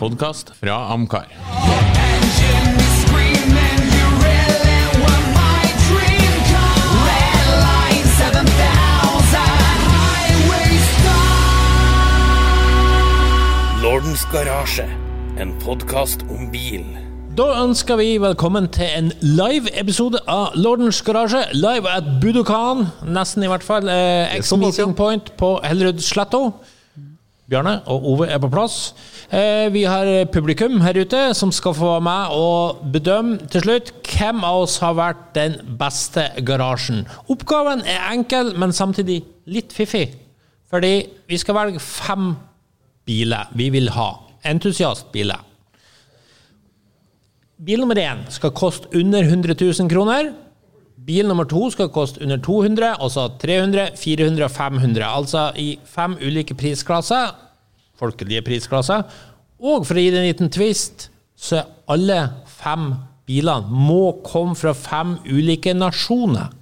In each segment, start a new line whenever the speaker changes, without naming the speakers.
Podkast fra Amcar.
Lordens Garasje, en podkast om bil.
Da ønsker vi velkommen til en live-episode av Lordens garasje. Live at Budokan, nesten i hvert fall. Eh, X-Meeting Point på Hellerud Sletto. Bjarne og Ove er på plass. Eh, vi har publikum her ute som skal få være med og bedømme til slutt hvem av oss har vært den beste garasjen. Oppgaven er enkel, men samtidig litt fiffig. Fordi vi skal velge fem biler vi vil ha. Entusiastbiler. Bil nummer én skal koste under 100 000 kroner. Bil nummer to skal koste under 200, og så 300, 400 og 500. Altså i fem ulike prisklasser, folkelige prisklasser. Og for å gi det en liten twist, så er alle fem bilene må komme fra fem ulike nasjoner.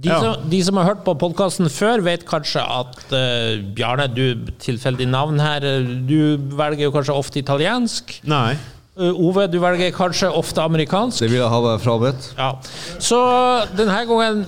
De, som, de som har hørt på podkasten før, vet kanskje at eh, Bjarne, du tilfeldig navn her, eh, du velger jo kanskje ofte italiensk.
Nei.
Uh, Ove, du velger kanskje ofte amerikansk.
Det vil jeg ha deg frabedt.
Ja. Så denne gangen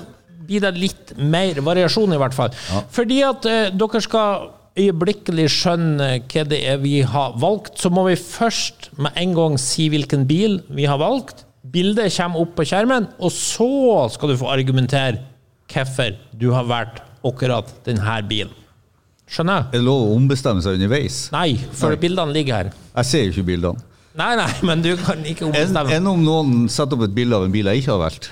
blir det litt mer variasjon, i hvert fall. Fordi at eh, dere skal øyeblikkelig skjønne hva det er vi har valgt, så må vi først med en gang si hvilken bil vi har valgt. Bildet kommer opp på skjermen, og så skal du få argumentere hvorfor du har valgt akkurat denne bilen. Skjønner? jeg?
Er det lov å ombestemme seg underveis?
Nei, for bildene ligger her.
Jeg ser jo ikke bildene.
Nei, nei, men du kan ikke
Enn
ombestemme.
enn om noen setter opp et bilde av en bil jeg ikke har valgt?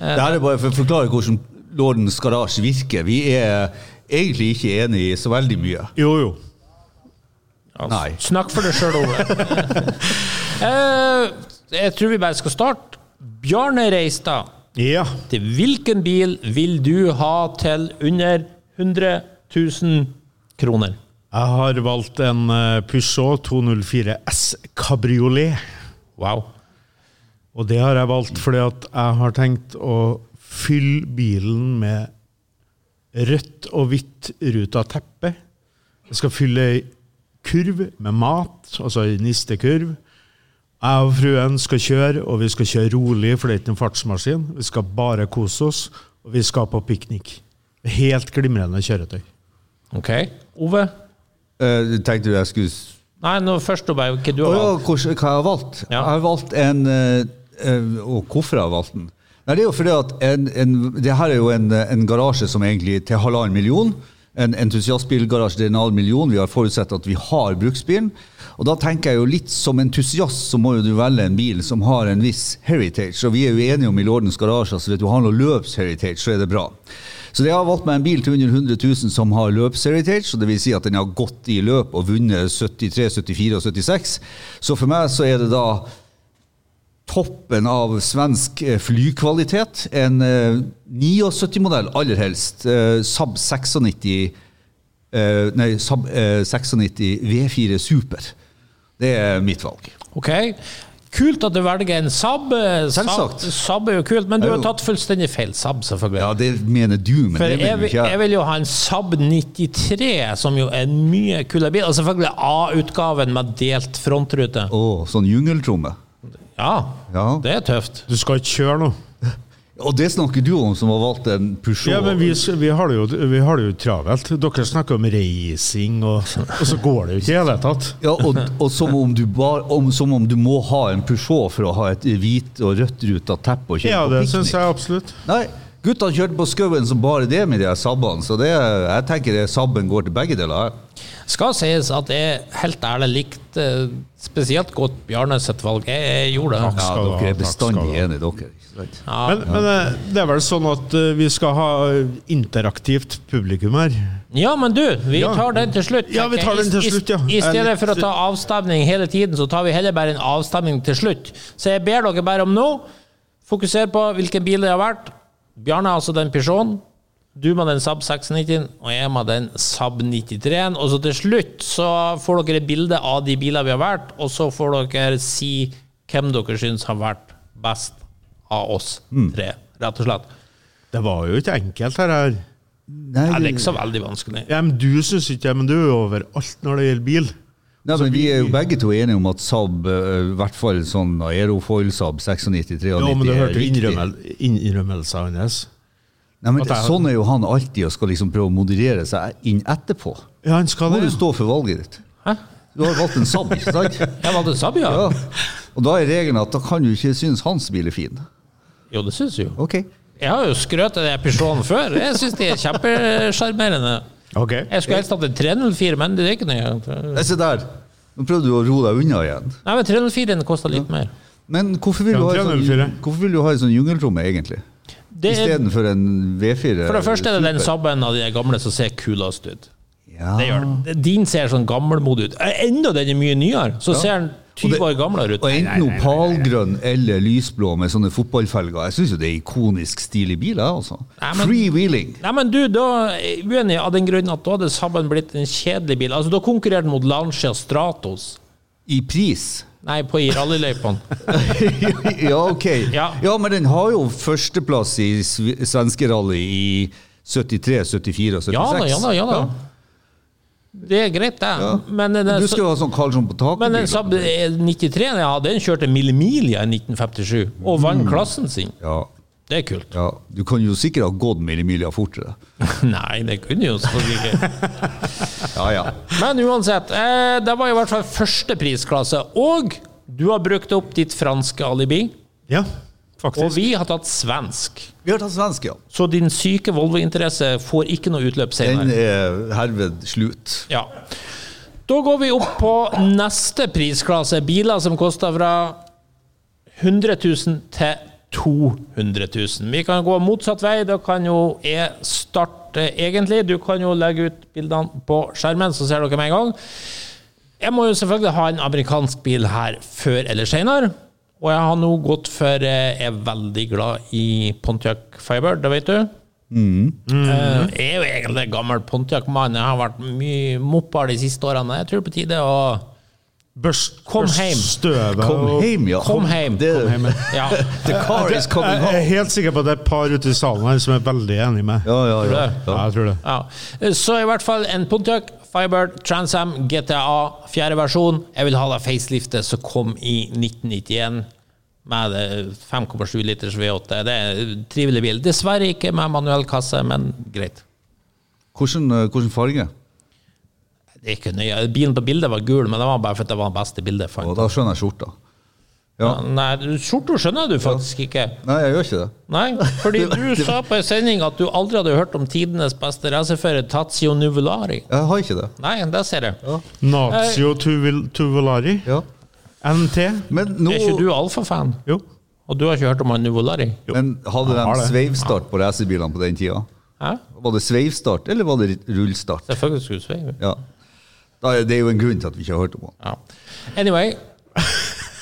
Eh.
Det her er bare for å forklare hvordan Lordens garasje virker. Vi er egentlig ikke enig i så veldig mye.
Jo, jo.
Nei.
Snakk for deg sjøl, Ove. Eh, jeg tror vi bare skal starte. Bjarne Reistad,
Ja.
til hvilken bil vil du ha til under 100 000 kroner?
Jeg har valgt en eh, Peugeot 204 S Cabriolet.
Wow.
Og det har jeg valgt fordi at jeg har tenkt å fylle bilen med rødt og hvitt ruta teppe. Jeg skal fylle ei kurv med mat, altså ei nistekurv. Jeg og fruen skal kjøre, og vi skal kjøre rolig, for det er ikke noen fartsmaskin. Vi skal bare kose oss, og vi skal på piknik. Helt glimrende kjøretøy.
Ok. Ove?
Eh, tenkte du jeg skulle s-
Nei, nå først og bare hva du
Å
har
ja,
valgt.
hvordan, hva jeg har valgt?
Ja.
Jeg har valgt en eh, eh, Og hvorfor jeg har valgt den? Nei, det er jo fordi at en, en, det her er jo en, eh, en garasje som egentlig er til halvannen million. En entusiastbilgarasje til en halv million. Vi har forutsett at vi har bruksbilen. Og da tenker jeg jo litt som entusiast, så må jo du velge en bil som har en viss heritage. Og vi er jo enige om i Lordens garasje at hvis du har noe løpsheritage, så er det bra. Så jeg har valgt meg en bil til under 100 000 som har løpsheritage, så det vil si at den har gått i løp og vunnet 73, 74 og 76. Så for meg så er det da toppen av svensk eh, flykvalitet. En 79-modell, aller helst. eh, Saab 96 eh, Nei, Saab eh, 96 V4 Super. Det er mitt valg.
Ok. Kult at du velger en Saab. Eh, Saab-
Selvsagt.
Saab er jo kult, men du
Jo.
har tatt fullstendig feil Saab, selvfølgelig.
Ja, det mener du, men
For jeg,
det mener jo
vil-
ikke
jeg
jeg.
vil jo ha en Saab 93, som jo er en mye kulere bil. Og selvfølgelig A-utgaven med delt frontrute.
Å, sånn jungeltromme.
Ja,
Ja.
det er tøft.
Du skal ikke kjøre nå.
Og det snakker du om, som har valgt en Peugeot.
Ja, men vi, s- vi, har det jo, vi har det jo travelt. Dere snakker om racing, og, og så går det jo ikke i det hele tatt.
Ja, og, og som, om du bar, om, som om du må ha en Peugeot for å ha et hvit og rødt ruta teppe og kjøre
Ja,
på
det
piknik.
syns jeg absolutt.
Nei, guttene kjørte på skauen som bare det med de her sabbene, så det, jeg tenker det sabben går til begge deler. her.
Skal sies at jeg helt ærlig likte eh, spesielt godt Bjarne sitt valg. Jeg, jeg gjorde det.
Ja,
Skal du ha,
dere er
takk skal
bestandig
du ha.
enige, dere. ikke sant?
Men, men eh, det er vel sånn at eh, vi skal ha interaktivt publikum her.
Ja, men du, vi
Ja.
tar den til slutt.
Ja,
tenker
vi
jeg.
tar den til
I- i-
slutt, ja.
I stedet
Jeg-
for å ta avstemning hele tiden, så tar vi heller bare en avstemning til slutt. Så jeg ber dere bare om nå. Fokuser på hvilken bil det har vært. Bjarne er altså den Peugeoten. Du med den Saab 690-en, og jeg med den Saab 93-en. Og så til slutt så får dere et bilde av de bilene vi har vært, og så får dere si hvem dere syns har vært best av oss
Mm.
tre, rett og slett.
Det var jo ikke enkelt her. her.
Det er
Nei,
ikke så veldig vanskelig.
Ja, men du syns ikke det, men du er jo overalt når det gjelder bil.
Nei, men Vi er jo begge to enige om at Saab, eh, i hvert fall sånn Aerofoil Saab 96-93
Jo, men du
er
hørte jo
riktig.
innrømmel- innrømmelsen hans.
Nei, men
at jeg-
Sånn er jo han alltid og skal liksom prøve å moderere seg inn etterpå.
Ja, han skal
Nå må du
det. ja.
stå for valget ditt.
Hæ?
Du har valgt en Saab, ikke sant?
Jeg valgte Saab, ja.
Ja. Og da er regelen at da kan du ikke synes hans bil er fin.
Jo, det syns jeg jo.
Ok.
Jeg har jo skrøt av den Peugeoten før. Jeg syns de er kjempesjarmerende.
Ok.
Jeg skulle helst hatt en 304, men det er ikke noe
Nei, Se der. Nå prøvde du å roe deg unna igjen.
Nei, men 304-en kosta litt mer.
Men hvorfor vil,
Ja,
du ha en
304.
sånn, hvorfor vil du ha en sånn jungeltromme, egentlig?
Det er,
Istedenfor en V4?
for det første er det den
Super.
Saaben av de gamle som ser kulest ut.
Ja.
Det gjør
Ah.
den. Din ser sånn gammelmodig ut. Enda den er mye nyere, så ser den 20 år gamlere ut.
Og enten opalgrønn eller lysblå med sånne fotballfelger. Jeg syns jo det er ikonisk stilig bil, jeg, altså.
Nei, men-
Freewheeling.
Nei, men du, da er jeg uenig av den grunn at da hadde Saaben blitt en kjedelig bil. Altså, da konkurrerte den mot Lancia Stratos.
I pris.
Nei, på i rallyløypene.
ja, ok.
Ja.
men den har jo førsteplass i sv- svenske rally i 73, 74 og 76.
Ja da, ja da, ja da. Det er greit, det. Men, den-
Du skal jo ha sånn Karlsson på taket.
men den Saab 93 jeg hadde, den kjørte millimilia i 1957, og vant klassen sin.
ja,
Det er kult.
ja. Du kan jo sikkert ha gått millimiler fortere.
Nei, det kunne jo selvfølgelig ikke.
Ja, ja.
Men uansett, eh, det var i hvert fall første prisklasse. Og du har brukt opp ditt franske alibi,
Ja,
og
faktisk.
vi har tatt svensk.
Vi har tatt svensk, ja.
Så din syke Volvo-interesse får ikke noe utløp
Den
senere.
er herved slutt.
Ja. Da går vi opp på neste prisklasse. Biler som koster fra 100 000 til 200 000. Vi kan gå motsatt vei. Da kan jo jeg starte, egentlig. Du kan jo legge ut bildene på skjermen, så ser dere med en gang. Jeg må jo selvfølgelig ha en amerikansk bil her før eller senere. Og jeg har nå gått for eh, Jeg er veldig glad i Pontiac Fiber, det vet du. Eh, Jeg er jo egentlig gammel Pontiac-mann. Jeg har vært mye mopper de siste årene. Jeg tror på tide å
Børst,
Kom
børst
heim.
støvet
Kom
og
hjem, ja.
Kom hjem.
Det,
Ja,
the car is coming
Jeg er
home.
helt sikker på at det er et par ute i salen her som er veldig enig med meg.
Ja, ja, ja.
Ja, jeg tror det.
ja. Så i hvert fall en Pontiac Fiber Transam GTA, fjerde versjon. Jeg vil ha det faceliftet som kom i 1991. Med det 5,7 liters V8. Det er en trivelig bil. Dessverre ikke med manuell kasse, men greit.
Hvordan, eh, hvordan farge?
Det er ikke nøye. Bilen på bildet var gul, men det var bare fordi det var det beste bildet jeg
Og
fant.
da skjønner jeg skjorta. Ja.
Nei, du- skjorta skjønner du faktisk ikke.
Nei, jeg gjør ikke det.
Nei, fordi du sa på en sending at du aldri hadde hørt om tidenes beste racerfører, Tazio Nuvolari.
Jeg har ikke det.
Nei, der ser jeg.
Nazio Tuvel- Tuvelari.
Ja.
NT.
Men, nå,
Er ikke du alfafan?
Jo.
Og du har ikke hørt om han Nuvolari?
jo.
men hadde
Jeg har
de
det.
sveivstart på racerbilene på den tida?
Hæ?
Var det sveivstart, eller var det rullstart?
Selvfølgelig skulle du sveive.
Ja. Da, er- det er jo en grunn til at vi ikke har hørt om den.
Ja. Anyway.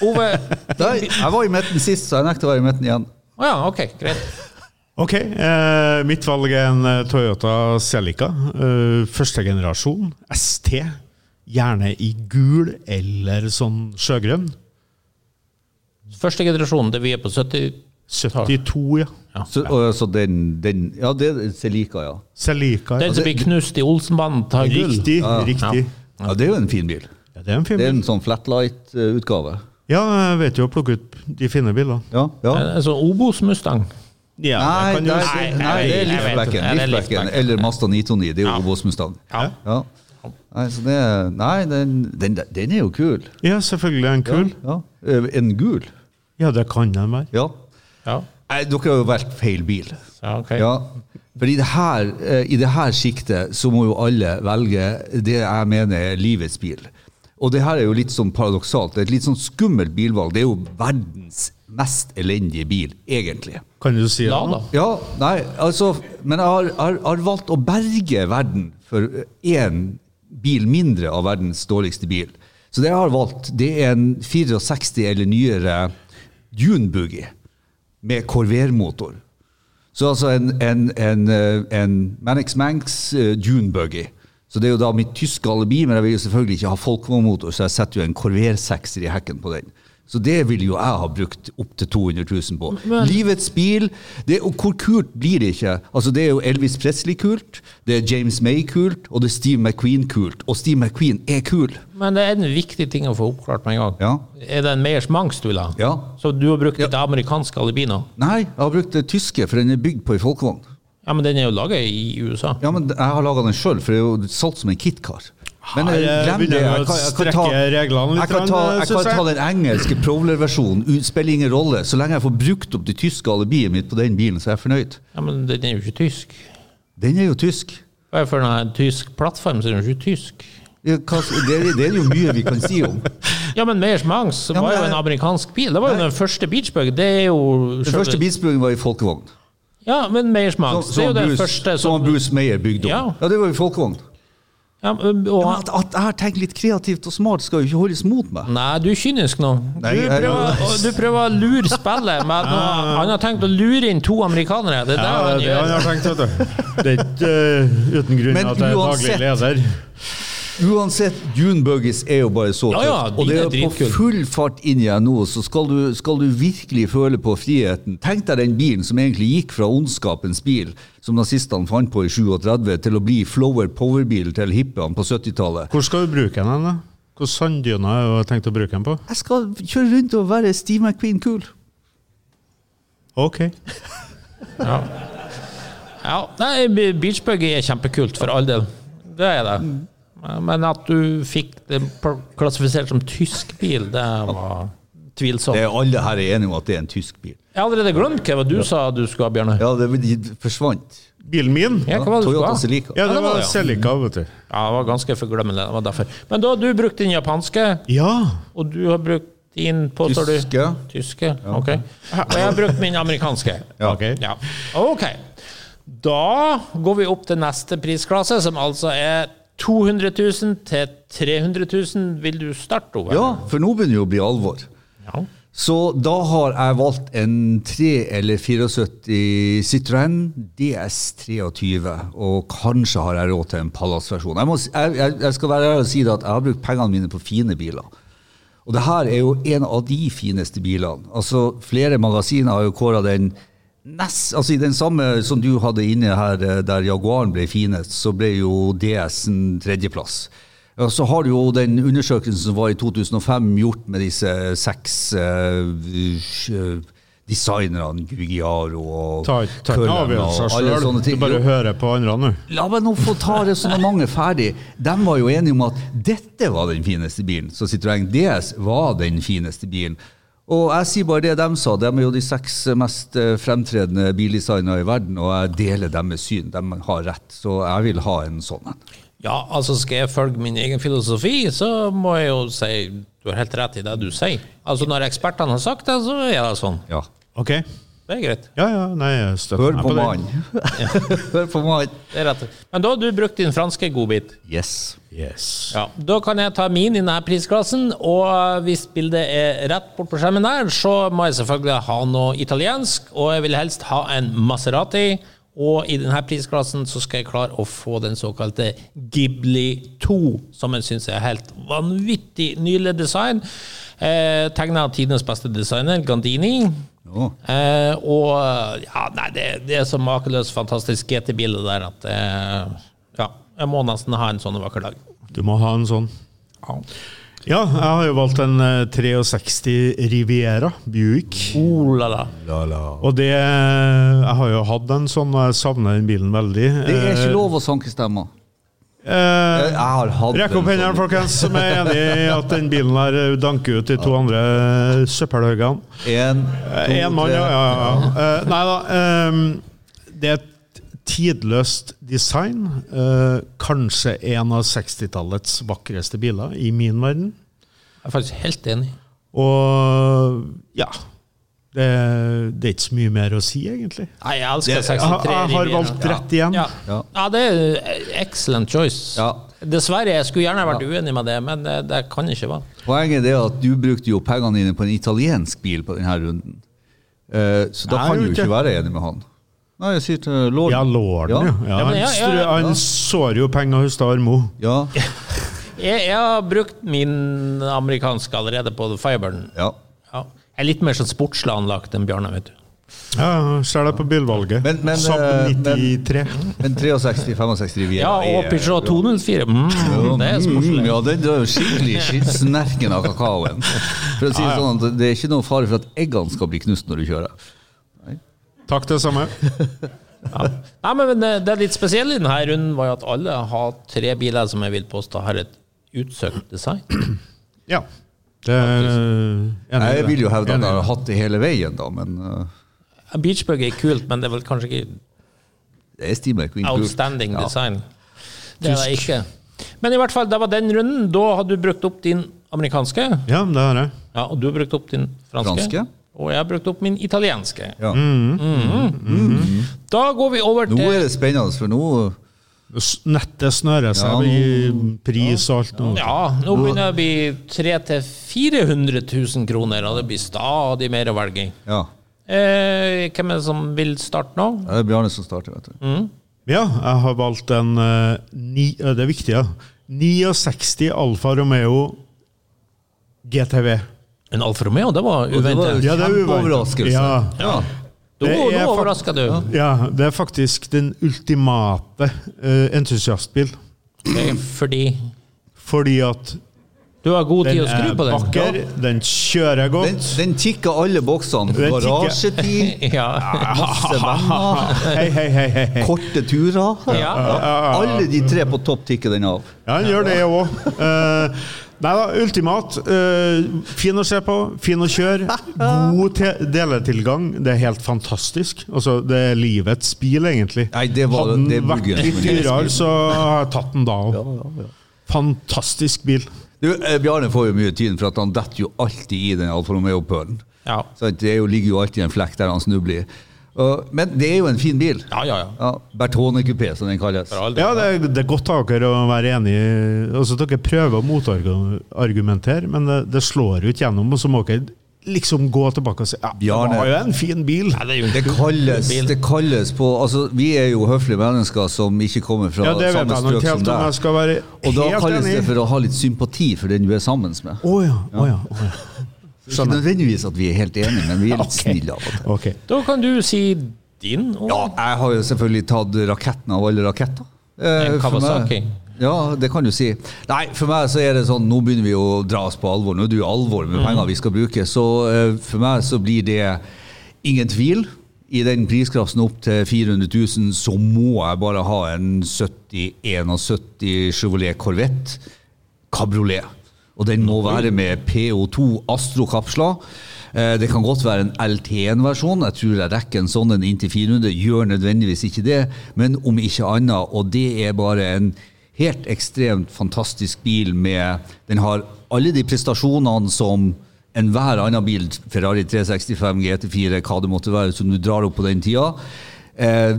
Ove
Nei, jeg var i midten sist, så jeg nekter å være i midten igjen.
Å ja, ok, greit.
Ok, eh, mitt valg er en eh, Toyota Celica. Eh, første generasjon. ST. Gjerne i gul eller sånn sjøgrønn.
Første generasjon, det vi er på 70
72, ja.
Så, og, så den, den Ja, det Celica, ja.
Celica.
Den
Ja.
som blir knust i Olsenbanen, tar gull.
Riktig, riktig.
ja. Det er jo en fin bil.
Ja, det er en fin
Det er
bil.
en sånn flatlight-utgave.
Ja, jeg vet jo å plukke ut de fine bilene.
Ja, ja.
En sånn Obos-mustang.
Ja,
Nei,
det kan jo
nei,
jeg
nei,
si-
det
vet ikke. Jeg
er
vet
Liftbacken.
ikke. Ja, det er
Liftbacken
Liftbacken.
eller Mazda 929. Det er jo Obos Mustang.
Ja.
Ja. Nei, så det, nei den, den, den er jo kul.
Ja, selvfølgelig er den kul.
Ja. Eh, En gul.
Ja, det kan den være.
Ja.
Ja.
Nei, dere har jo valgt feil bil.
ja, ok.
Ja. For i det, her, eh, i det her siktet så må jo alle velge det jeg mener er livets bil. Og det her er jo litt sånn paradoksalt. Det er et litt sånn skummelt bilvalg. Det er jo verdens mest elendige bil, egentlig.
Kan du si det?
La,
nå?
da.
Ja, nei, altså Men jeg har, har, har valgt å berge verden for én bil mindre av verdens dårligste bil. Så det jeg har valgt, det er en 64 eller nyere Dune Buggy med Corvair-motor. Så altså en, en, en, eh, en Mannix Manx eh, Dune Buggy. Så det er jo da mitt tyske alibi, men jeg vil jo selvfølgelig ikke ha Folkvogn-motor, så jeg setter jo en Corvair 6 i hekken på den. Så det vil jo jeg ha brukt opptil 200 000 på. Livets bil det, Og hvor kult blir det ikke? Altså Det er jo Elvis Presley kult, det er James May kult, og det er Steve McQueen kult. Og Steve McQueen er kul!
Men det er en viktig ting å få oppklart med en gang.
Ja.
Er det en Meyers-Mangs du vil ha?
Ja.
Så du har brukt et amerikansk alibino?
Nei, jeg har brukt det tyske, for den er bygd på en folkevogn.
Ja, men den er jo laga i USA.
Ja, men jeg har laga den sjøl, for det er jo solgt som en KitKar. Men eh,
Her, eh,
glem det.
begynner vi å
Jeg kan, jeg kan ta,
strekke reglene litt
jeg kan ta,
grann, eh,
jeg
synes
kan
jeg.
ta den engelske Prowler-versjonen. ut- Spiller ingen rolle. Så lenge jeg får brukt opp det tyske alibiet mitt på den bilen, så er jeg fornøyd.
Ja, Men den er jo ikke tysk.
Den er jo tysk.
Hva er det for en tysk plattform, så er den jo ikke tysk.
Ja, hva- Det, er- det er jo mye vi kan si om.
Ja, men Meyers-Mangs
men
var jo
jeg-
en amerikansk bil. Det var jo den første Beachbug. Det er jo
Den første bilsprøyten var i folkevogn.
Ja, men Meyers-Mangs. Det er jo den første
som
som
Bruce Meyer bygde om.
Ja.
Ja, det var i folkevogn.
ja, men- og,
Ja, men at, at jeg har tenkt litt kreativt og smart, skal jo ikke holdes mot meg.
Nei, du er kynisk nå.
Nei,
du,
jeg-
prøver, og du prøver å lure spillet med at nå- han har tenkt å lure inn to amerikanere. Det er det
Ja,
han
det er det han
gjør.
har tenkt, vet du. Det er ikke eh, uten grunn
Men
at jeg er
uansett-
daglig leder.
Uansett, Dune Buggies er jo bare så
Ja, ja,
tøft.
de
Og det
er
er på
dritkul.
full fart inn igjen nå, så skal du, skal du virkelig føle på friheten. Tenk deg den bilen som egentlig gikk fra ondskapens bil, som nazistene fant på i 37, til å bli flower power-bil til hippiene på 70-tallet.
Hvor skal du bruke den, da? Hvor sanddyna har jeg tenkt å bruke den på?
Jeg skal kjøre rundt og være Steve McQueen kul.
Ok.
Ja. Ja, nei, Beachbuggy er kjempekult, for all del. Det er det. Men at du fikk det pl- klassifisert som tysk bil, det var
Det
tvilsomt.
er alle her er enige om at det er en tysk bil.
Jeg har allerede glemt hva du sa du skulle ha, Bjørne.
Ja, det de forsvant.
Bilen min?
Ja,
Ja,
hva var det du skulle
Toyota
ha?
Celica.
Ja,
det
det
var
var
det, ja.
Celica, vet du.
Ja, det var ganske forglemmelig. Det var derfor. Men da har du brukt den japanske,
Ja.
og du har brukt din, påstår du?
Tyske.
Tyske, ok. Og jeg har brukt min amerikanske.
Ja.
Ok.
Ja. Ok. Da går vi opp til neste prisklasse, som altså er 200 000 til 300 000. Vil du starte, Ove?
Ja, for nå begynner det jo å bli alvor.
Ja.
Så da har jeg valgt en 3 eller 74 Citroën DS23, og kanskje har jeg råd til en Palace-versjon. Jeg, må si- jeg, jeg, jeg skal være ærlig og si det at jeg har brukt pengene mine på fine biler. Og det her er jo en av de fineste bilene. Altså, Flere magasiner har jo kåra den nest, altså i den samme som du hadde inne her, eh, der Jaguaren ble finest, så ble jo DS-en tredjeplass. Ja, Så har du jo den undersøkelsen som var i 2005, gjort med disse seks eh, sj- eh, designerne, Gugiaro og
Ta ta ikke
Cullen
avgjørelser
og alle
sjøl.
sånne
Du
ting.
bare
Jo,
hører på andre nå.
La meg nå få ta resonnementet ferdig. De var jo enige om at dette var den fineste bilen. Så Citroën DS var den fineste bilen. Og jeg sier bare det de sa. De er jo de seks mest eh, fremtredende bildesignere i verden, og jeg deler deres syn. De har rett. Så jeg vil ha en sånn en.
ja, altså skal jeg følge min egen filosofi, så må jeg jo si du har helt rett i det du sier. Altså når ekspertene har sagt det, så er det sånn.
Ja.
Ok.
Det er greit.
Ja, ja, nei, jeg støtter
Hør
meg
på
på det.
mannen. Hør på mannen.
Det er rett. Men da har du brukt din franske godbit.
Yes.
Yes.
Ja, Da kan jeg ta min i denne prisklassen, og hvis bildet er rett bort på skjermen der, så må jeg selvfølgelig ha noe italiensk, og jeg vil helst ha en Maserati. Og i denne prisklassen så skal jeg klare å få den såkalte Ghibli 2, som jeg syns er helt vanvittig nylig design. Eh, Tegna av tidenes beste designer, Gandini.
Ja.
Eh, og ja, nei, det, det er så makeløst fantastisk GT-bilde der at eh, Ja, jeg må nesten ha en sånn en vakker dag.
Du må ha en sånn. Ja, jeg har jo valgt en eh, 63 Riviera Buick.
Oh la la.
Og det eh, Jeg har jo hatt en sånn, og jeg savner den bilen veldig.
Det er ikke lov å sanke stemmer.
Eh,
Jeg har hatt
Rekk
en
opp hendene,
sånn.
folkens, som er enig i at den bilen her eh, danker ut de to andre eh, søppelhaugene.
En, to,
Én mann,
tre.
ja. ja, ja. Eh, nei da. ehm, det er et tidløst design. eh, kanskje en av 60-tallets vakreste biler i min verden.
Jeg er faktisk helt enig.
Og ja det, det er ikke så mye mer å si, egentlig.
Nei, jeg elsker
Det-
63
Jeg, jeg har
Riviera.
valgt rett igjen.
Ja. Ja.
Ja.
det er excellent choice.
Ja.
Dessverre, jeg skulle gjerne vært uenig med det, men det, det kan ikke være.
Poenget er at du brukte jo pengene dine på en italiensk bil på denne runden. Eh, så da
Nei,
kan
jeg
du
gjorde
ikke
ikke.
være enig med han. Nei, jeg sier til lorden.
Ja, lorden, jo. Ja,
Ja, men
han,
ja, ja,
strø,
ja.
han sår jo penger hos Armo.
Ja. Ja.
Jeg, jeg har brukt min amerikanske allerede på fiberen.
ja.
Ja. Jeg er litt mer sånn sportslig anlagt enn Bjarne, vet du.
Ja, ser deg på bilvalget.
Men- men,
Saab
eh,
93.
Men 63-65
Ja,
Riviera
og
er-
Peugeot 204. Mm, det er
Mm,
sportslig.
Ja, den drar jo skikkelig skitt- snerken av kakaoen. For å si det sånn at det er ikke noen fare for at eggene skal bli knust når du kjører.
Takk, det samme.
Nei, men eh, det, det er litt spesielle i denne runden var jo at alle har tre biler som jeg vil påstå har et utsøkt design.
Ja. Det er, eh, enig
Nei, Jeg
i det.
vil jo hevde at
Enig i
jeg har
det.
hatt det hele veien, da, men eh,
Beachbug er kult, men det er vel kanskje ikke
det er Steamer Queen Group.
outstanding
Ja.
design. Det er det ikke. Men i hvert fall, det var den runden. Da har du brukt opp din amerikanske,
Ja, det har jeg.
ja, og du har brukt opp din franske.
Franske.
Og jeg har brukt opp min italienske.
Ja.
Da går vi over
Nå
til
er det spennende, for nå
S- Nettet snører seg
Ja,
det i pris og alt. nå.
Ja, nå begynner det å bli 300 000-400 000 kroner, og det blir stadig mer å velge i.
Ja,
Eh, hvem er det som vil starte nå?
det er Bjarne som starter, vet du.
Ja, jeg har valgt en eh, ni, eh, Det er viktig, ja. 69 Alfa Romeo GTV.
En Alfa Romeo, det var
det var-
uventet.
Ja, det er Kjempeoverraskelse.
Ja,
Ja.
Nå
det er fak-
overrasker du.
ja, det er faktisk den ultimate eh, entusiastbil.
Ok, Fordi
Fordi at
du har god tid
den eh,
å skru
er
på den.
vakker, den kjører
Den,
godt.
den tikker alle boksene.
Den tikker.
Garasjetid,
Ja.
masse venner,
Hei, hei, hei. hei, hei.
korte turer.
Ja.
Alle de tre på topp tikker den av.
Ja, han gjør det òg. nei da, ultimat. eh, fin å se på, fin å kjøre. God te deletilgang. Det er helt fantastisk. Altså, det er livets bil, egentlig.
Nei, det var-
Hadde
det er
den vært
buggen
litt
som er livets
dyrere, så har jeg tatt den da òg.
Ja, ja, ja.
Fantastisk bil.
Du, eh, Bjarne får jo mye tyn for at han detter jo alltid i den Alfa Romeo-pølen.
Ja.
Så Det er jo, ligger jo alltid en flekk der han snubler i. Og- Men det er jo en fin bil.
Ja, ja, ja.
Bertone Coupé, som den kalles.
Ja, det, er- det er godt av dere å være enige. Altså, dere prøver å motargumentere, men det, det slår jo ikke gjennom. Og så må dere liksom gå tilbake og si ja, det
Bjarne.
var jo en fin bil.
Nei, det er jo
Det kalles, det kalles på altså, Vi er jo høflige mennesker som ikke kommer fra
Ja, det vet
samme
jeg nok
strøk som
helt om. Jeg
deg.
skal være
Og da
helt
kalles
enig.
det for å ha litt sympati for den du er sammen med.
Å ja. Å ja. Å ja.
Ikke nødvendigvis at vi er helt enige, men vi er litt snille av og til.
Ok.
Da kan du si din. og-
Ja, jeg har jo selvfølgelig tatt raketten av alle raketter. Eh,
En
for meg-
Kawasaki.
Ja, det kan du si. Nei, for meg så er det sånn, nå begynner vi å dra oss på alvor. Nå er det jo alvor
Mm.
med penger vi skal bruke. Så eh, for meg så blir det ingen tvil. I den prisklassen opp til 400 000 så må jeg bare ha en 70-71 Chevrolet Corvette kabriolet. Og den må være med PO2 Astro-kapsler. Eh, Det kan godt være en LT1-versjon. Jeg tror jeg rekker en sånn en inntil 400. Gjør nødvendigvis ikke det, men om ikke annet. Og det er bare en helt ekstremt fantastisk bil med Den har alle de prestasjonene som enhver annen bil, Ferrari 365, GT4, hva det måtte være, som du drar opp på den tida. Eh,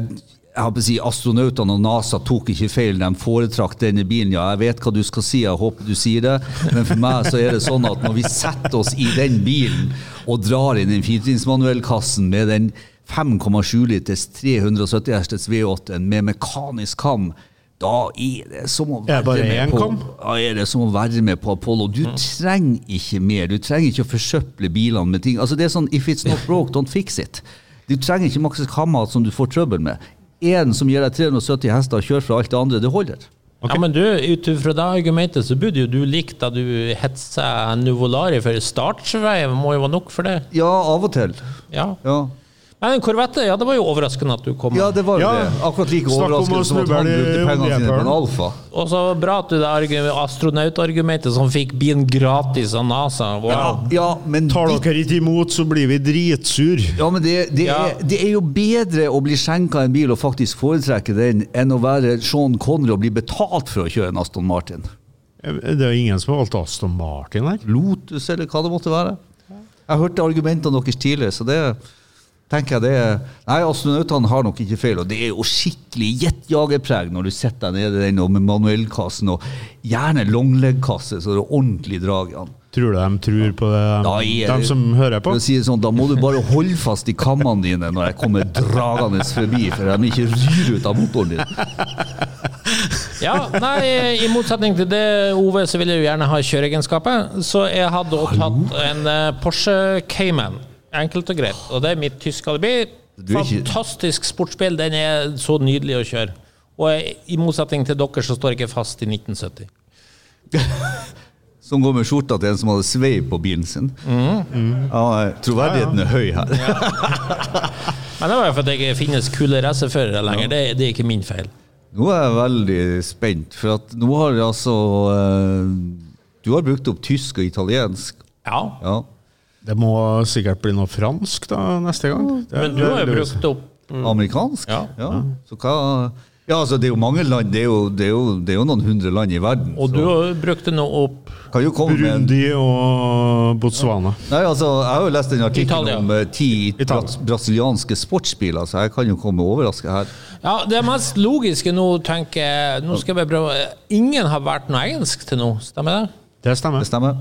jeg håper å si, Astronautene og NASA tok ikke feil. De foretrakk denne bilen. Ja, jeg vet hva du skal si, jeg håper du sier det. Men for meg så er det sånn at når vi setter oss i den bilen og drar inn den firetrinnsmanuellkassen med den 5,7 liters 370 hestes V8-en med mekanisk kam, da er det som å
Er det bare
være med
én
på
kam?
da er det som å være med på Apollo. Du trenger ikke mer. Du trenger ikke å forsøple bilene med ting. Altså Det er sånn if it's not broke, don't fix it. Du trenger ikke Maxis Kamat som du får trøbbel med. Én som gir deg 370 hester og kjører fra alt det andre, det holder.
Ja, men du, ut ifra det argumentet så burde jo du likt da du hetsa Nuvolari for startsvei. Må jo være nok for det.
Ja, av og til.
Ja.
Ja,
Men en Corvette, ja, det var jo overraskende at du kom.
ja
med.
det var jo
Ja.
det. Akkurat like
Snakk om å
overraskende som at han
snuble i
brukte pengene sine på en
oljeeplen.
Alfa.
Og så bra at du det argu- astronautargumentet som fikk bilen gratis av NASA. Wow.
Ja, men
Tar dere ikke imot, så blir vi dritsur.
Ja, men det, det,
Ja.
Er, det er jo bedre å bli skjenka en bil og faktisk foretrekke den, enn å være Sean Connery og bli betalt for å kjøre en Aston Martin.
Det er jo ingen som har valgt Aston Martin her.
Lotus, eller hva det måtte være. Jeg hørte argumentene deres tidligere, så det tenker jeg det er Nei, astronautene har nok ikke feil, og det er jo skikkelig jetjagerpreg når du setter deg ned i den og med manuellkassen, og gjerne longlegg-kasse, så det er ordentlig drag i den.
Tror du de tror på det,
Da er
de
det-
som hører på?
For å si det sånn, da må du bare holde fast i kammene dine når jeg kommer dragende forbi, for de ikke ryr ut av motoren din.
Ja, nei, I motsetning til det, Ove, så vil jeg jo gjerne ha kjøreegenskaper. Så jeg hadde også tatt en eh, Porsche Cayman. Enkelt og greit. Og det er mitt tyske alibi.
Du er ikke-
Fantastisk sportsbil. Den er så nydelig å kjøre. Og jeg, i motsetning til dere, så står jeg ikke fast i 1970.
Som går med skjorta til en som hadde sveiv på bilen sin. Ja, troverdigheten er høy her.
Men det var jo fordi det ikke finnes kule racerførere lenger. Det, det er ikke min feil.
Nå er jeg veldig spent, for at nå har jeg altså eh, Du har brukt opp tysk og italiensk.
Ja.
Ja.
Det må sikkert bli noe fransk da neste gang. Det
Mm.
er-
Men du har
det
jo
er-
brukt opp
Amerikansk?
Ja.
Så hva Ja, altså, det er jo mange land. Det er jo, det er jo, det er jo noen hundre land i verden.
Og
så
du har brukt nå opp
kan jo komme med en
Burundi og Botswana.
Nei, altså, Jeg har jo lest en artikkel
Italia.
om eh, ti
Italia.
bras brasilianske sportsbiler, så jeg kan jo komme overraske her.
Ja, det mest logiske nå, tenker jeg Nå skal vi prøve Ingen har vært noe engelsk til nå, stemmer det?
Det stemmer.
Det stemmer?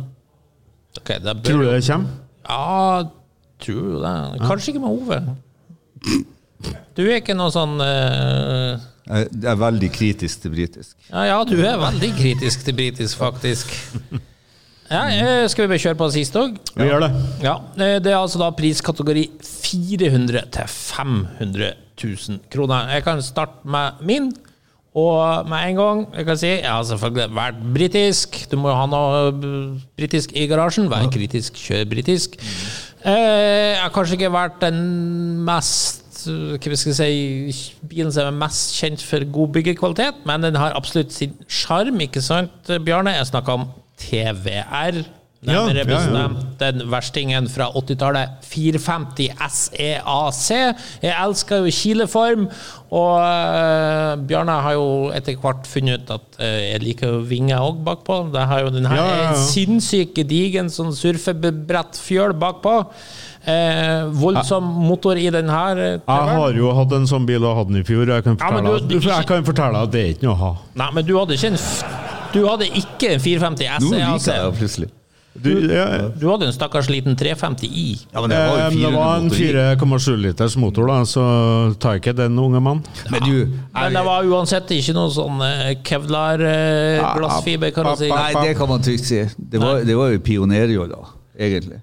Ok, det bør-
Tror du det kommer?
Ja, tror jo det. Kanskje ikke med Ove. Du er ikke noe sånn eh,
Jeg jeg er veldig kritisk til britisk.
Ja, ja, du er veldig kritisk til britisk, faktisk. Ja, eh, skal vi bare kjøre på sist òg?
Vi gjør det.
Ja, eh, det er altså da priskategori 400 til 500 000 kroner. Jeg kan starte med min, og med en gang jeg kan si jeg har selvfølgelig vært britisk. Du må jo ha noe eh, britisk i garasjen. Vær kritisk, kjør britisk. Eh, Jeg har kanskje ikke vært den mest eh, hva skal jeg si, bilen som er mest kjent for god byggekvalitet, men den har absolutt sin sjarm, ikke sant, Bjarne? Jeg snakka om TVR.
Ja,
Nærmere
ja, ja.
bestemt den verstingen fra 80-tallet. 450 SEAC. E Jeg elsker jo kileform, og eh, Bjarne har jo etter hvert funnet ut at eh, jeg liker jo vinger òg bakpå. Det har jo den her
Ja, ja, ja.
eh, sinnssyke digen sånn surfebrettfjøl bakpå. Eh, voldsom motor i den her. eh,
Jeg har jo hatt en sånn bil og hadde den i fjor. og Jeg kan
Ja, men
fortelle,
du-
at- jeg kan fortelle deg at det er ikke noe å ha.
Nei, men du hadde ikke en f du hadde ikke en 450
Nå liker jeg
SEAC.
det plutselig.
Du, ja,
E Du hadde en stakkars liten 350 i.
Ja, men det var jo
Eh, Det
400
var en
motor i.
4,7 liters motor, da, så tar ikke den unge mann.
Men du,
Men det var uansett ikke noe sånn eh, kevlar eh, glassfiber, kan man si.
Nei, det kan man trygt si. Det var, det var jo pionerjår, da, egentlig.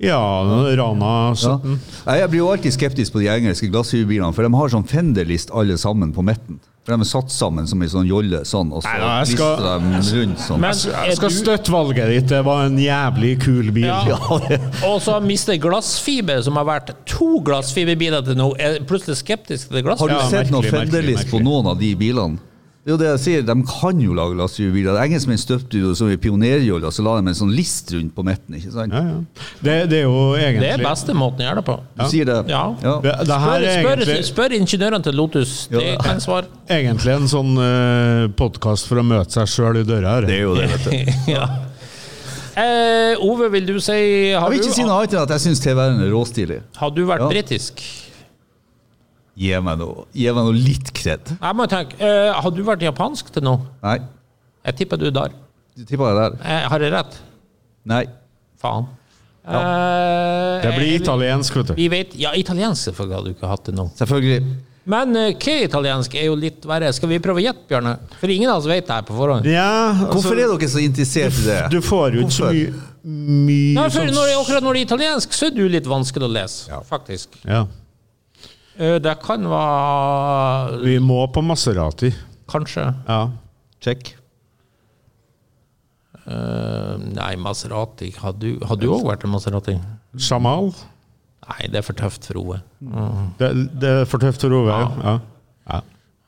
Ja, Rana
Ja.
17.
Nei, Jeg blir jo alltid skeptisk på de engelske glassfiberbilene, for de har sånn fenderlist alle sammen på midten. For de er satt sammen som en sånn jolle, sånn, og så
Nei, nei, jeg skal-
lister de rundt sånn.
Men
Jeg
er
skal
du
støtte valget ditt, det var en jævlig kul bil.
Ja. og så mister glassfiber, som har vært to glassfiberbiler til nå, er plutselig skeptisk til
Har du
glassfiber.
Ja,
sett noen
merkelig, merkelig,
fenderlist på
merkelig.
noen av de bilene? Det er jo det jeg sier, De kan jo lage lastebiler. Engelskmenn støpte jo som i pionerjolla, så la de en sånn list rundt på midten. ikke sant?
Ja, ja. Det, det er jo egentlig
Det er beste måten å gjøre det på.
Du sier det?
Ja.
Det, det
Spør,
her er
spør,
egentlig,
spør ingeniørene til Lotus, det
Ja.
kan svare.
egentlig en sånn uh, podkast for å møte seg sjøl i døra her.
Det er jo det, vet du.
ja. eh, Ove, vil du si
Jeg
Har,
vil ikke si
du,
noe annet enn at jeg syns TVR-en er råstilig.
har du vært
Ja.
britisk?
Gi meg noe, gi meg noe litt kred.
Jeg må tenke, eh, har du vært japansk til nå?
Nei,
Jeg tipper du der.
du tippa jeg der.
Eh, har jeg rett?
Nei.
Faen. Eh,
Det blir
jeg-
italiensk, vet du.
Vi vet, ja, italiensk selvfølgelig hadde du ikke hatt det nå.
Selvfølgelig.
Altså,
Men eh, hva er italiensk er jo litt verre. Skal vi prøve å gjette, Bjørne? For ingen av oss vet det her på forhånd.
Ja, altså,
Hvorfor er dere så interessert i det?
du får jo ikke så mye, mye
Nei, for
sånn-
når, akkurat når det er italiensk, så er du litt vanskelig å lese, faktisk.
ja.
Eh, Det kan være
Vi må på Maserati.
Kanskje
Ja.
Check.
eh, Nei, Maserati. Har du òg vært en Maserati?
Jamal.
Nei, det er for tøft for Ove.
Det, det er for tøft for Ove. Ja. Ja.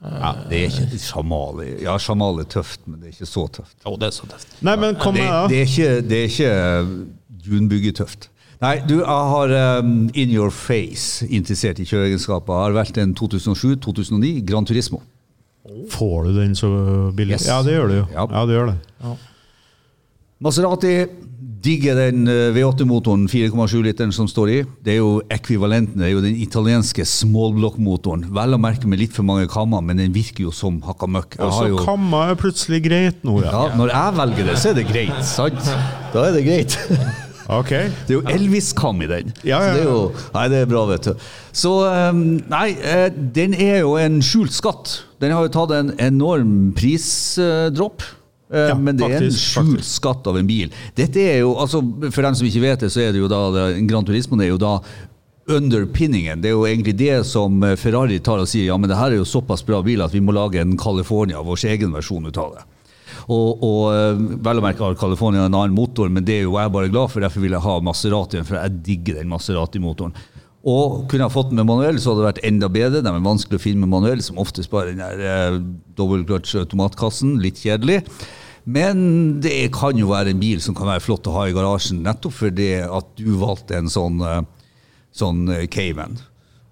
Ja, det er ikke sjamal. Ja, sjamal er tøft, men det er ikke så tøft.
Å, det er så tøft.
Nei, men kom
Det,
med, da.
det er ikke, det er ikke eh, Junbyggetøft. Nei, du, jeg har eh, in your face interessert i kjøreegenskaper. Jeg har valgt en 2007-2009 Gran Turismo.
Får du den så billig?
Yes.
Ja, det gjør du jo.
Ja.
Ja. det gjør det.
Maserati digger den eh, V8-motoren, 4,7 literen som står i. Det er jo ekvivalenten, det er jo den italienske smallblock-motoren. Vel å merke med litt for mange kammer, men den virker jo som hakka møkk. Jeg
Og
har
så
jo-
kamma er plutselig greit nå, ja.
Ja, når jeg velger det, så er det greit, sant? Da er det greit.
Ok.
Det er jo Elvis-kam i den.
Ja, ja,
Så det er jo, nei, det er bra, vet du. Så um, Nei, eh, den er jo en skjult skatt. Den har jo tatt en enorm prisdropp. Eh,
Ja,
men det er en
faktisk,
skjult
faktisk.
skatt av en bil. Dette er jo, altså For dem som ikke vet det, så er det jo da det- Gran Turismo det er jo da underpinningen. Det er jo egentlig det som eh, Ferrari tar og sier ja, men det her er jo såpass bra bil at vi må lage en California, vår egen versjon ut av det. Og, og eh, vel å merke har California en annen motor, men det er jo jeg bare glad for. Derfor vil jeg ha Maseratien, for jeg digger den Maserati-motoren. Og kunne jeg fått den med manuell, så hadde det vært enda bedre. De er vanskelig å finne med manuell, som oftest bare den der eh, dobbeltkløtsj-automatkassen. Litt kjedelig. Men det kan jo være en bil som kan være flott å ha i garasjen, nettopp fordi at du valgte en sånn eh, sånn eh, Cayman.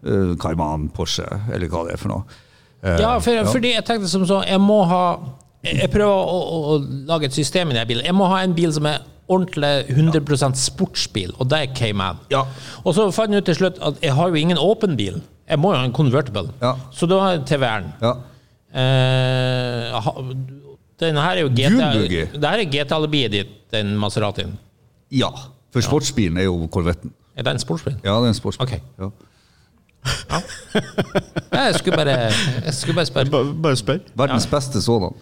eh, Cayman, Porsche, eller hva det er for noe. Eh,
Ja, for, fordi jeg tenkte som så, jeg må ha Jeg jeg prøver å, å, å lage et system i den bilen. Jeg må ha en bil som er ordentlig 100 sportsbil, og det er Cayman.
Ja.
Og så fant jeg ut til slutt at jeg har jo ingen åpen bil. Jeg må jo ha en convertible.
Ja.
Så da har jeg TV-en.
ja.
Eh, ha- den her er jo GTA,
Dune-buggy.
det her er GTA-alibiet ditt, den Maseratien.
ja. For sportsbilen er jo Corvetten.
Er det en sportsbil?
Ja, det er en sportsbil.
Ok.
Ja.
Jeg skulle bare, jeg skulle bare spørre.
Bare, bare spør.
Verdens beste sådan.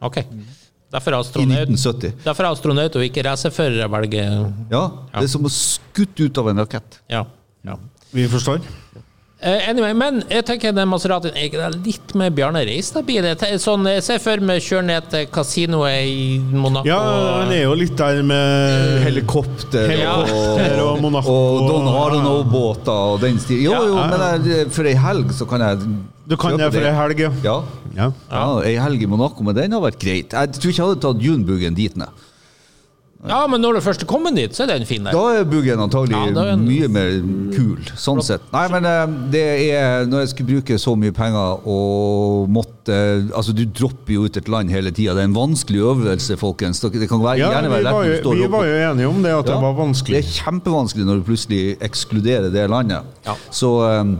Ok. Derfor er
I
astronaut,
1970.
derfor er astronaut og ikke racerfører velger
Ja, Det er som å skutt ut av en rakett.
Ja. ja.
Vi forstår.
Eh, anyway, men jeg tenker den Maserati er ikke det litt mer Bjarne Reistad-bil. Jeg tenker Sånn, jeg ser for meg kjøre ned til kasinoet i Monaco.
Ja, han er jo litt der med
Helikopter
Helikopter og Monaco.
og Don Arno-båter og den stilen. Jo,
Ja.
jo, men jeg, for ei helg så kan jeg
Du kan
kjøpe
det for ei helg, ja.
Ja.
ja.
ja. Ei helg i Monaco, men den har vært greit. Jeg tror ikke jeg hadde tatt Junbugen dit, nei.
Ja, men når du først er kommet dit, så er den fin der.
Da er buggen antagelig
Ja, da er den-
mye mer kul, sånn sett. Nei, men eh, det er Når jeg skulle bruke så mye penger og måtte Altså, du dropper jo ut et land hele tida. Det er en vanskelig øvelse, folkens. Dere- Det kan være,
ja
gjerne
vi,
være lett
var
når du
jo,
står
vi
oppe.
var jo enige om det, at det
Ja.
var vanskelig.
Det er kjempevanskelig når du plutselig ekskluderer det landet.
Ja.
Så eh,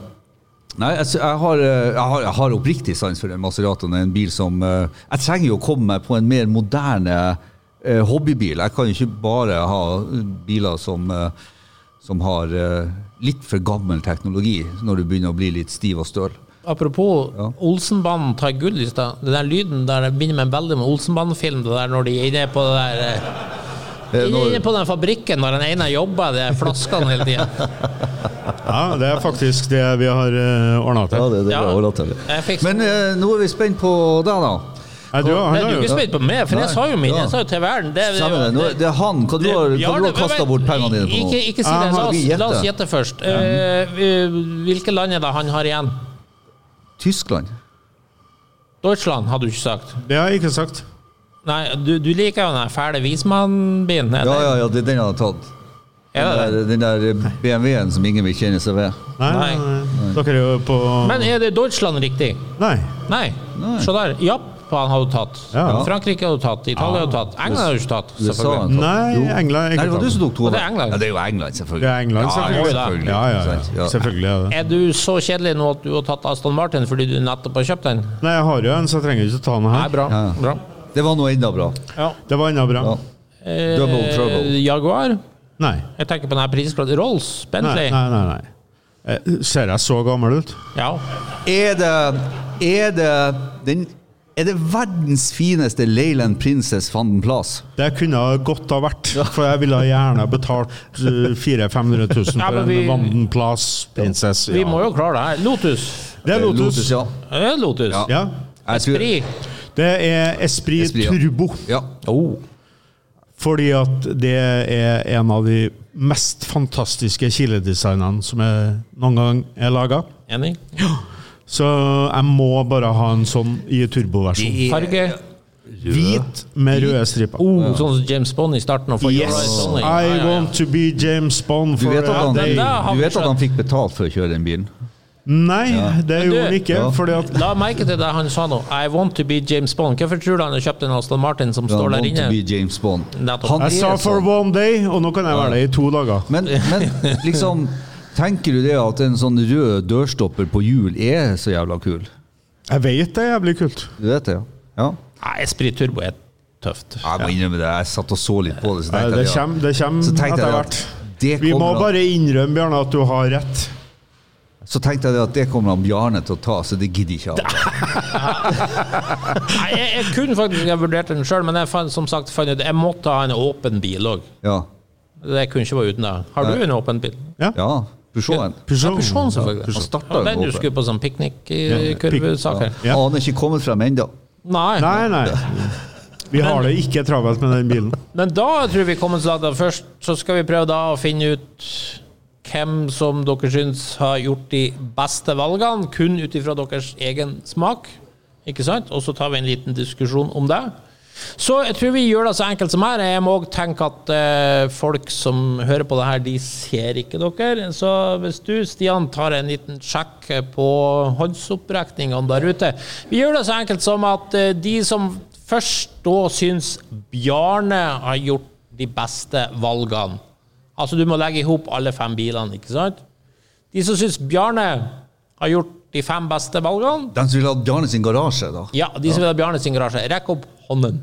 Nei, jeg, sy- jeg, har, eh, jeg, har, jeg har oppriktig sans for den Maseratoen. En bil som eh, Jeg trenger jo å komme meg på en mer moderne eh, hobbybil. Jeg kan jo ikke bare ha eh, biler som, eh, som har eh, litt for gammel teknologi, når du begynner å bli litt stiv og støl.
Apropos
Ja.
Olsenbanen tar gull i stad. Den der lyden der det begynner meg veldig med Olsenbanen-film. Det der når de er inne på det der eh,
Eh,
Inne
når-
inne på den fabrikken når den ene jobber, det er flaskene hele tida.
Ja, det er faktisk det vi har uh, ordna
ja,
til.
det, det
Ja.
er bra til.
Jeg fikk-
Men eh, nå er vi spent på deg, da.
Nei,
Det
du, han
er
har
jo
jo
ikke spent på meg, for jeg
Nei.
sa jo min.
Ja.
Jeg sa jo TVR-en. Det, det,
Stemmer det. Nå, det er han. Hva du har hva du har kasta bort pengene dine på
Ikke,
nå?
ikke si
Ah,
det. La
skal vi
oss,
gjette?
la oss gjette først. Eh, eh, hvilke land er det han har igjen?
Tyskland.
Deutschland, hadde du ikke sagt.
Det har jeg ikke sagt.
Nei, du, du liker jo den fæle vismann-bilen. er det?
Ja, ja, ja, det er den jeg har tatt.
Er det det?
Den der, eh, den der BMW-en som ingen vil kjenne seg ved.
Nei,
Nei.
nei, nei. Dere er jo på
Men er det Deutschland riktig?
Nei.
Nei.
Nei.
Se der. Japan har du tatt.
Ja.
Frankrike har du tatt. Italia har du tatt. England har du ikke tatt.
USA har
selvfølgelig.
tatt.
Nei,
Jo.
England er ikke
Nei, det var
tatt.
du som tok to.
Og det er
da.
England.
Ja, det er jo England, selvfølgelig.
Det er England, selvfølgelig.
Ja, selvfølgelig.
Ja, ja,
Sant,
ja. Selvfølgelig er det.
Er du så kjedelig nå at du har tatt Aston Martin fordi du nettopp har kjøpt den?
Nei, jeg har jo en, så jeg trenger ikke ta den
Nei,
her.
bra.
Ja.
bra.
Det var noe enda bra.
Det var enda bra.
Ja. Double trouble.
Eh, Jaguar?
Nei.
Jeg tenker på denne prisklassen. Rolls?
Nei,
Bentley?
nei, nei. nei. Eh, Ser jeg så gammel ut?
Ja.
Er det Er det den Er det verdens fineste Leyland Princess van den Plass?
Det kunne ha godt ha vært, for jeg ville ha gjerne betalt eh, 400 000-500 000
Ja,
for
men
en
vi-
Vanden Plass-prinsesse.
Vi må jo klare det her. Lotus.
Det er Lotus.
ja.
Eh, Lotus.
Ja.
Ja.
Jeg tror-
Pri.
Det er Esprit,
Esprit, ja.
Turbo.
Ja.
Fordi at det er en av de mest fantastiske kiledesignene som jeg noen gang er laga.
Enig?
Så jeg må bare ha en sånn i turboversjon.
Farge?
Hvit med røde striper.
Oh, sånn som James Bond i starten. Og får
Yes!
Horizon, ja, ja,
I
ja.
want to be James Bond
Du
for
vet, at
a
han,
day.
da har
du
vi
vet at
skjønt.
han fikk betalt for å kjøre den bilen?
Nei, det
du-
gjorde han ikke.
Ja.
Fordi at
La merke til det han sa nå. I want to be James Bond. Hvorfor tror du han har kjøpt en Aston Martin som står
want
der
to be
inne?
James Bond.
Nettopp.
Han
jeg sa
er
for
sånn.
one day, og nå kan jeg være det i to dager.
Men, men liksom, tenker du det at en sånn rød dørstopper på hjul er så jævla kul?
Jeg vet det er jævlig kult.
Du vet det, ja? ja.
Nei, Esprit Turbo er tøft.
Jeg må innrømme det, jeg satt og så litt på det. Så
Nei,
tenkte
det
jeg, ja.
kommer, det kommer
Så tenkte
etter
jeg
hvert.
at det
Vi må
kommer da.
bare innrømme, Bjarne, at du har rett.
Så tenkte jeg det at det kommer han Bjarne til å ta, så det gidder ikke han.
Nei, jeg, jeg kunne faktisk ha vurdert den sjøl, men jeg fant, som sagt, fant ut, jeg måtte ha en åpen bil òg.
Ja.
Det kunne ikke være uten det. Har du en åpen bil?
ja. Peugeoten.
Ja, Peugeot, selvfølgelig.
Han startet
Ja,
jo
den
åpen.
du skulle på sånn piknikkurvesak her.
Ja.
Han er ikke kommet frem ennå.
Nei.
Nei, nei. Vi har det ikke travelt med den bilen.
Men da tror jeg vi kommer så langt at først så skal vi prøve da å finne ut hvem som dere syns har gjort de beste valgene, kun ut ifra deres egen smak. Ikke sant? Og så tar vi en liten diskusjon om det. Så jeg tror vi gjør det så enkelt som her. Jeg må òg tenke at eh, folk som hører på det her, de ser ikke dere. Så hvis du, Stian, tar en liten sjekk på håndsopprekningene der ute Vi gjør det så enkelt som at eh, de som først da syns Bjarne har gjort de beste valgene Altså du må legge i hop alle fem bilene, ikke sant? De som syns Bjarne har gjort de fem beste valgene
De som vil ha Bjarne sin garasje, da.
ja, de som vil ha Bjarne sin garasje, rekk opp hånden.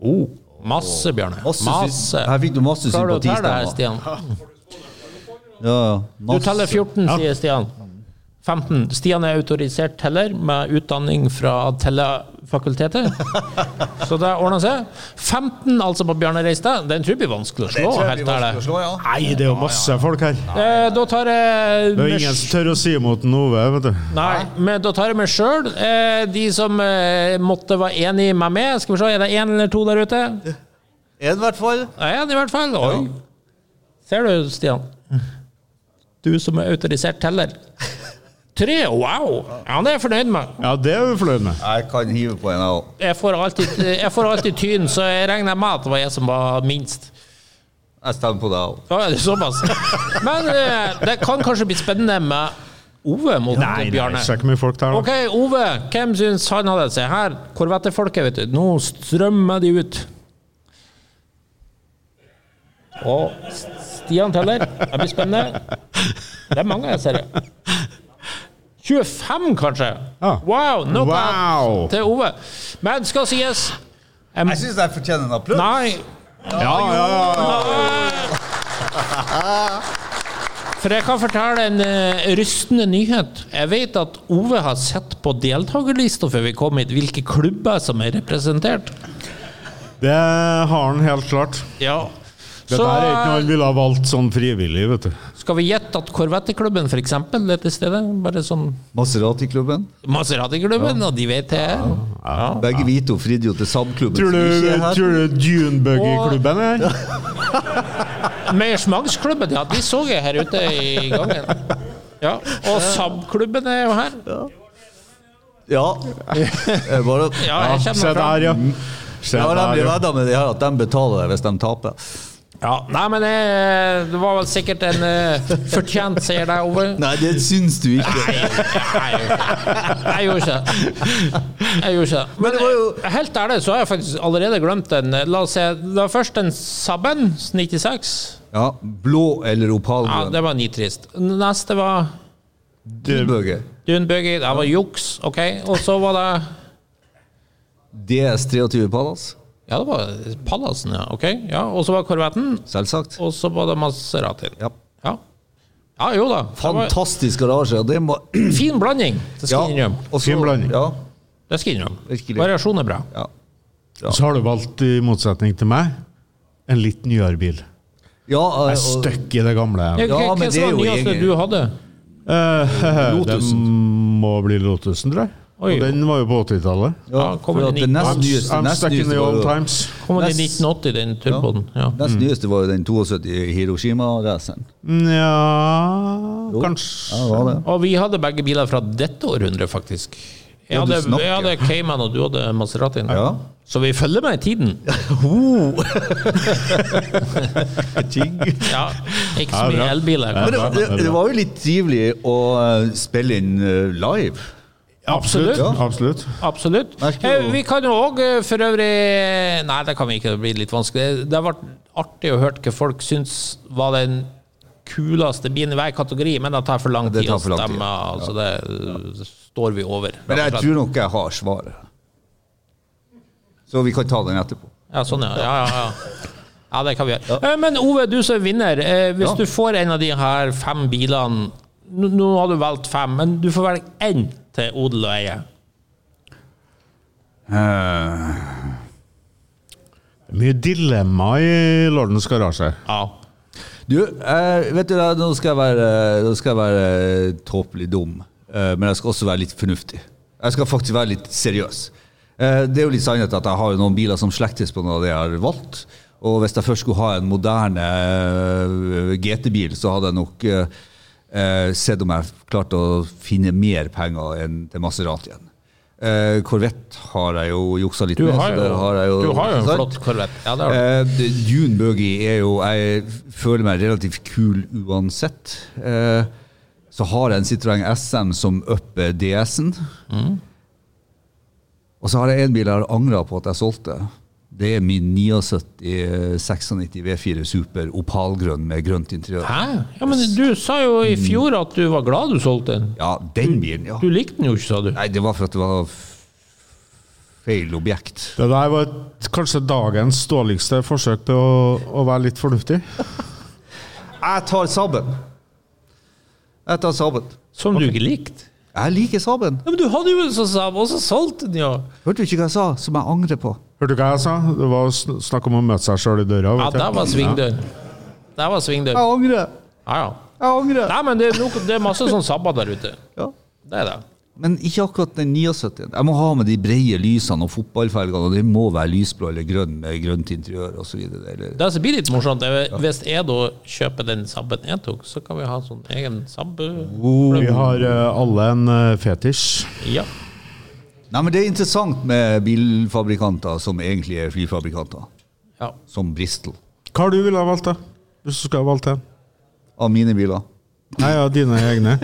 Oh, masse, Bjarne.
Masse sy-
Masse.
Her fikk du masse
Klarer du å telle det her,
sympatistemmer.
Stian?
Ja, ja.
Du
Masse.
teller 14, sier Stian. 15. Stian er autorisert teller med utdanning fra tellefakultetet. Så det ordner seg. 15 altså på Bjarne Reistad. Den tror jeg blir vanskelig å slå.
tror jeg
helt
blir
ærlig.
vanskelig å slå, ja.
Nei, det er jo masse folk her.
Eh, Da tar jeg
Det er jo ingen som tør å si imot en Ove, vet du.
Nei, men da tar jeg meg sjøl. Eh, de som eh, måtte være enig med meg Skal vi se, er det én eller to der ute?
En i hvert fall.
Det er én i hvert fall. Oi. Ser du, Stian? Du som er autorisert teller. Tre, wow! Ja, det er jeg fornøyd med.
Ja, det er vi fornøyd med.
Jeg kan hive på en, jeg òg.
Jeg får alltid, jeg får alltid tyn, så jeg regner med at det var jeg som var minst.
Jeg stemmer på deg òg.
Da er det såpass. Men eh, det kan kanskje bli spennende med Ove mot
Nei, nei,
Bjarne.
sjekk hvor mye folk der
Ok,
nå.
Ove, hvem syns han hadde seg her? Korvettefolket, vet du. Nå strømmer de ut. Og Stian teller. Det blir spennende. Det er mange, jeg ser det. 25, kanskje?
Ja.
Wow! Knockout
Ah. Wow.
til Ove. Men skal sies em,
Jeg syns jeg fortjener en applaus.
Nei.
Ja, ja, ja.
For jeg kan fortelle en eh, rystende nyhet. Jeg vet at Ove har sett på deltakerlista før vi kom hit, hvilke klubber som er representert.
Det har han helt klart.
Ja.
Dette
Så eh,
her er ikke noe han ville ha valgt sånn frivillig, vet du.
skal vi gjette at Korvetteklubben for eksempel er til stede? Bare sånn
Maserati-klubben.
Maserati-klubben, og de vet det. Ja.
Begge vi to fridde jo til SAB-klubben.
Tror du, tror du Dunebuggy-klubben er her?
Meiersmagsklubben, ja, de så jeg her ute i gangen. Ja, Og SAB-klubben er jo her.
Ja. Jeg bare...
Ja, jeg
Se
kjenner meg fram.
der, ja. Mm. Se
Ja, de
der,
blir
ja.
vedda med det her at de betaler det hvis de taper.
Ja, nei, men eh, det var vel sikkert en eh, fortjent seier der, Ove.
Nei, det syns du ikke.
Jeg gjorde ikke det. Jeg gjorde ikke det. Men,
det var jo-
eh, helt ærlig så har jeg faktisk allerede glemt den. La oss se. Det var først den Saben 96.
Ja, Blå eller
Ja,
opalgrønn?
det var nitrist. Neste var
Dunebuggy.
Dunbuggy. Det var juks, OK. Og så var det
DS23 Palace?
Ja, det var Pallasen, ja. OK. Ja, og så var Korvetten.
Selvsagt.
Og så var det Maseratien.
Ja.
Ja. ja, jo da. Det var
Fantastisk garasje. og Det må
Fin blanding, det skal jeg innrømme.
og så-
Fin blanding.
Ja.
Det skal jeg innrømme.
Virkelig.
Variasjon er bra.
ja.
Så har du valgt, i motsetning til meg, en litt nyere bil.
ja eh, og-
Jeg er støkk i det gamle.
Ja,
Ja,
hva
men det
som
er
var
jo
nyeste
egentlig-
du hadde?
Eh, det
Lotusen.
må bli Lotusen, tror jeg.
Oi.
Og den var jo på 80-tallet.
ja,
Ja, kommer
for at
den
det
i-
nest
I'm,
nyeste,
I'm
nest
stuck in
nyeste
the
var
old
jo-
times.
Kom den i
Nest-
1980, den turboen? Ja.
Nest nyeste var jo den 72 Hiroshima-raceren.
Nja
Ja,
Kanskje
det var det.
Og vi hadde begge biler fra dette århundret, faktisk. Jeg
Ja, du
hadde,
snakker.
jeg hadde Cayman, og du hadde Maseratien.
Ja.
Så vi følger med i tiden. Ja, ikke så
Ja,
mye
bra.
elbiler.
Men det,
kanskje.
det, det var jo litt trivelig å eh, spille inn eh, live.
Absolutt.
Ja.
Absolutt.
Absolutt.
Merker jo-
Eh, Vi kan jo òg eh, for øvrig Nei, det kan vi ikke. Det blir litt vanskelig. Det har vært artig å høre hva folk syns var den kuleste bilen i hver kategori, men det tar for lang
Det
tid
tar
å
for lang tid.
stemme. Altså, det eh, står vi over.
Men
rett
jeg
og slett.
tror nok jeg har svaret. Så vi kan ta den etterpå.
Ja, sånn, ja. Ja, ja, ja. ja det kan vi gjøre. Eh, Men Ove, du som er vinner, eh, hvis
Ja.
du får en av de her fem bilene nå, nå har du valgt fem, men du får velge én til odel og eie.
Eh,
Mye dilemma i Lordens garasje.
Ja.
du, eh, vet du, hva, nå skal jeg være, nå skal jeg være eh, tåpelig dum, eh, men jeg skal også være litt fornuftig. Jeg skal faktisk være litt seriøs. Eh, det er jo litt sannhet at jeg har jo noen biler som slektes på noe av det jeg har valgt. Og hvis jeg først skulle ha en moderne eh, GT-bil, så hadde jeg nok eh, eh, sett om jeg klarte å finne mer penger enn til Maseratien. Eh, Corvette har jeg jo juksa litt
Du
med.
har
så der
jo-
har jeg jo,
du har jo en
Sant?
flott Corvette. Ja, det har du.
Eh, det- Dune Buggy er jo Jeg føler meg relativt kul uansett. Eh, så har jeg en Citroën SM som upper DS-en.
Mm.
Og så har jeg en bil jeg har angra på at jeg solgte. Det er min eh, 79-96 V4 Super opalgrønn med grønt interiør.
Hæ? Ja, men du sa jo i fjor at du var glad du solgte den.
Ja, den bilen, ja.
Du likte den jo ikke, sa du.
Nei, det var for at det var f- feil objekt.
Det der var et, kanskje dagens dårligste forsøk på å, å være litt fornuftig.
Jeg tar Saben. Jeg tar Saben.
Som du ikke likte.
Jeg liker Saben.
Ja, men du hadde jo en som sa og så solgte den, ja.
Hørte du ikke hva jeg sa, som jeg angrer på?
Hørte du hva jeg sa? Det var sn- snakk om å møte seg sjøl i døra.
Ja,
vet du.
der var svingdør. Der var svingdør.
Jeg angrer.
Ja, ja.
Jeg angrer.
Nei, men det er, nok, det er masse sånn sabba der ute.
Ja.
Det er det.
Men ikke akkurat den 79. Jeg må ha med de brede lysene og fotballfelgene, og det må være lysblå eller grønn med grønt interiør osv. Eller
Det som blir litt morsomt, er hvis jeg da kjøper den sabben jeg tok, så kan vi ha sånn egen sabb...
Vi har eh, alle en eh, fetisj.
Ja.
Nei, men det er interessant med bilfabrikanter som egentlig er flyfabrikanter,
ja.
som Bristol.
Hva har du ville ha valgt, da? Hvis du skulle ha valgt en?
Av mine biler.
Nei, ja, dine egne.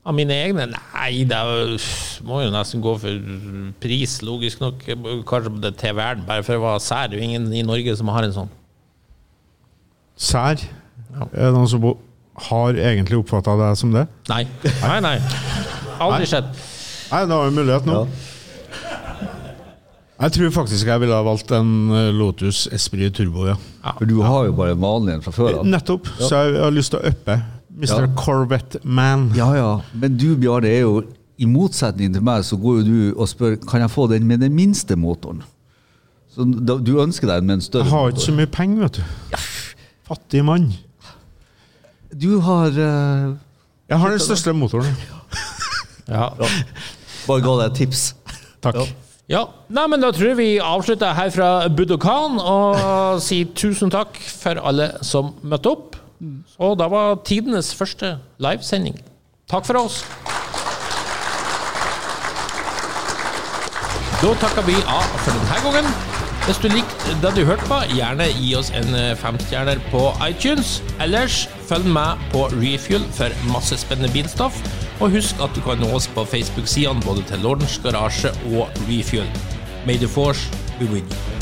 Av mine egne? Nei, det er, jo- må jo nesten gå for pris, logisk nok. Kanskje det er TV-en, bare for å være sær. Det er jo ingen i Norge som har en sånn.
Sær. Er det noen som bo- har egentlig oppfatta deg som det?
Nei. Nei, nei. Aldri skjedd.
Nei, det var jo en mulighet nå. Jeg tror faktisk jeg ville ha valgt en eh, Lotus Esprit Turbo, ja.
For du har jo bare en vanlig en fra før av.
Nettopp. Så jeg, jeg har lyst til å uppe. Mr.
Ja.
Corvette Man.
Ja ja. Men du, Bjarne, er jo I motsetning til meg, så går jo du og spør kan jeg få den med den minste motoren. Så da, du ønsker deg en med en større
Jeg har ikke så mye penger, vet du. Fattig mann.
Du har eh,
Jeg har den største motoren.
Ja.
Bare ga deg et tips.
Takk.
Ja, Nei, men da tror jeg vi avslutter her fra Budokan og sier tusen takk for alle som møtte opp. Og da var tidenes første livesending. Takk for oss. Da takker vi av for denne gangen. Hvis du likte det du hørte på, gjerne gi oss en eh, femstjerner på iTunes. Ellers følg med på Refuel for masse spennende bilstoff. Og husk at du kan nå oss på Facebook-sidene både til Lordens Garasje og Refuel. May the force be with you.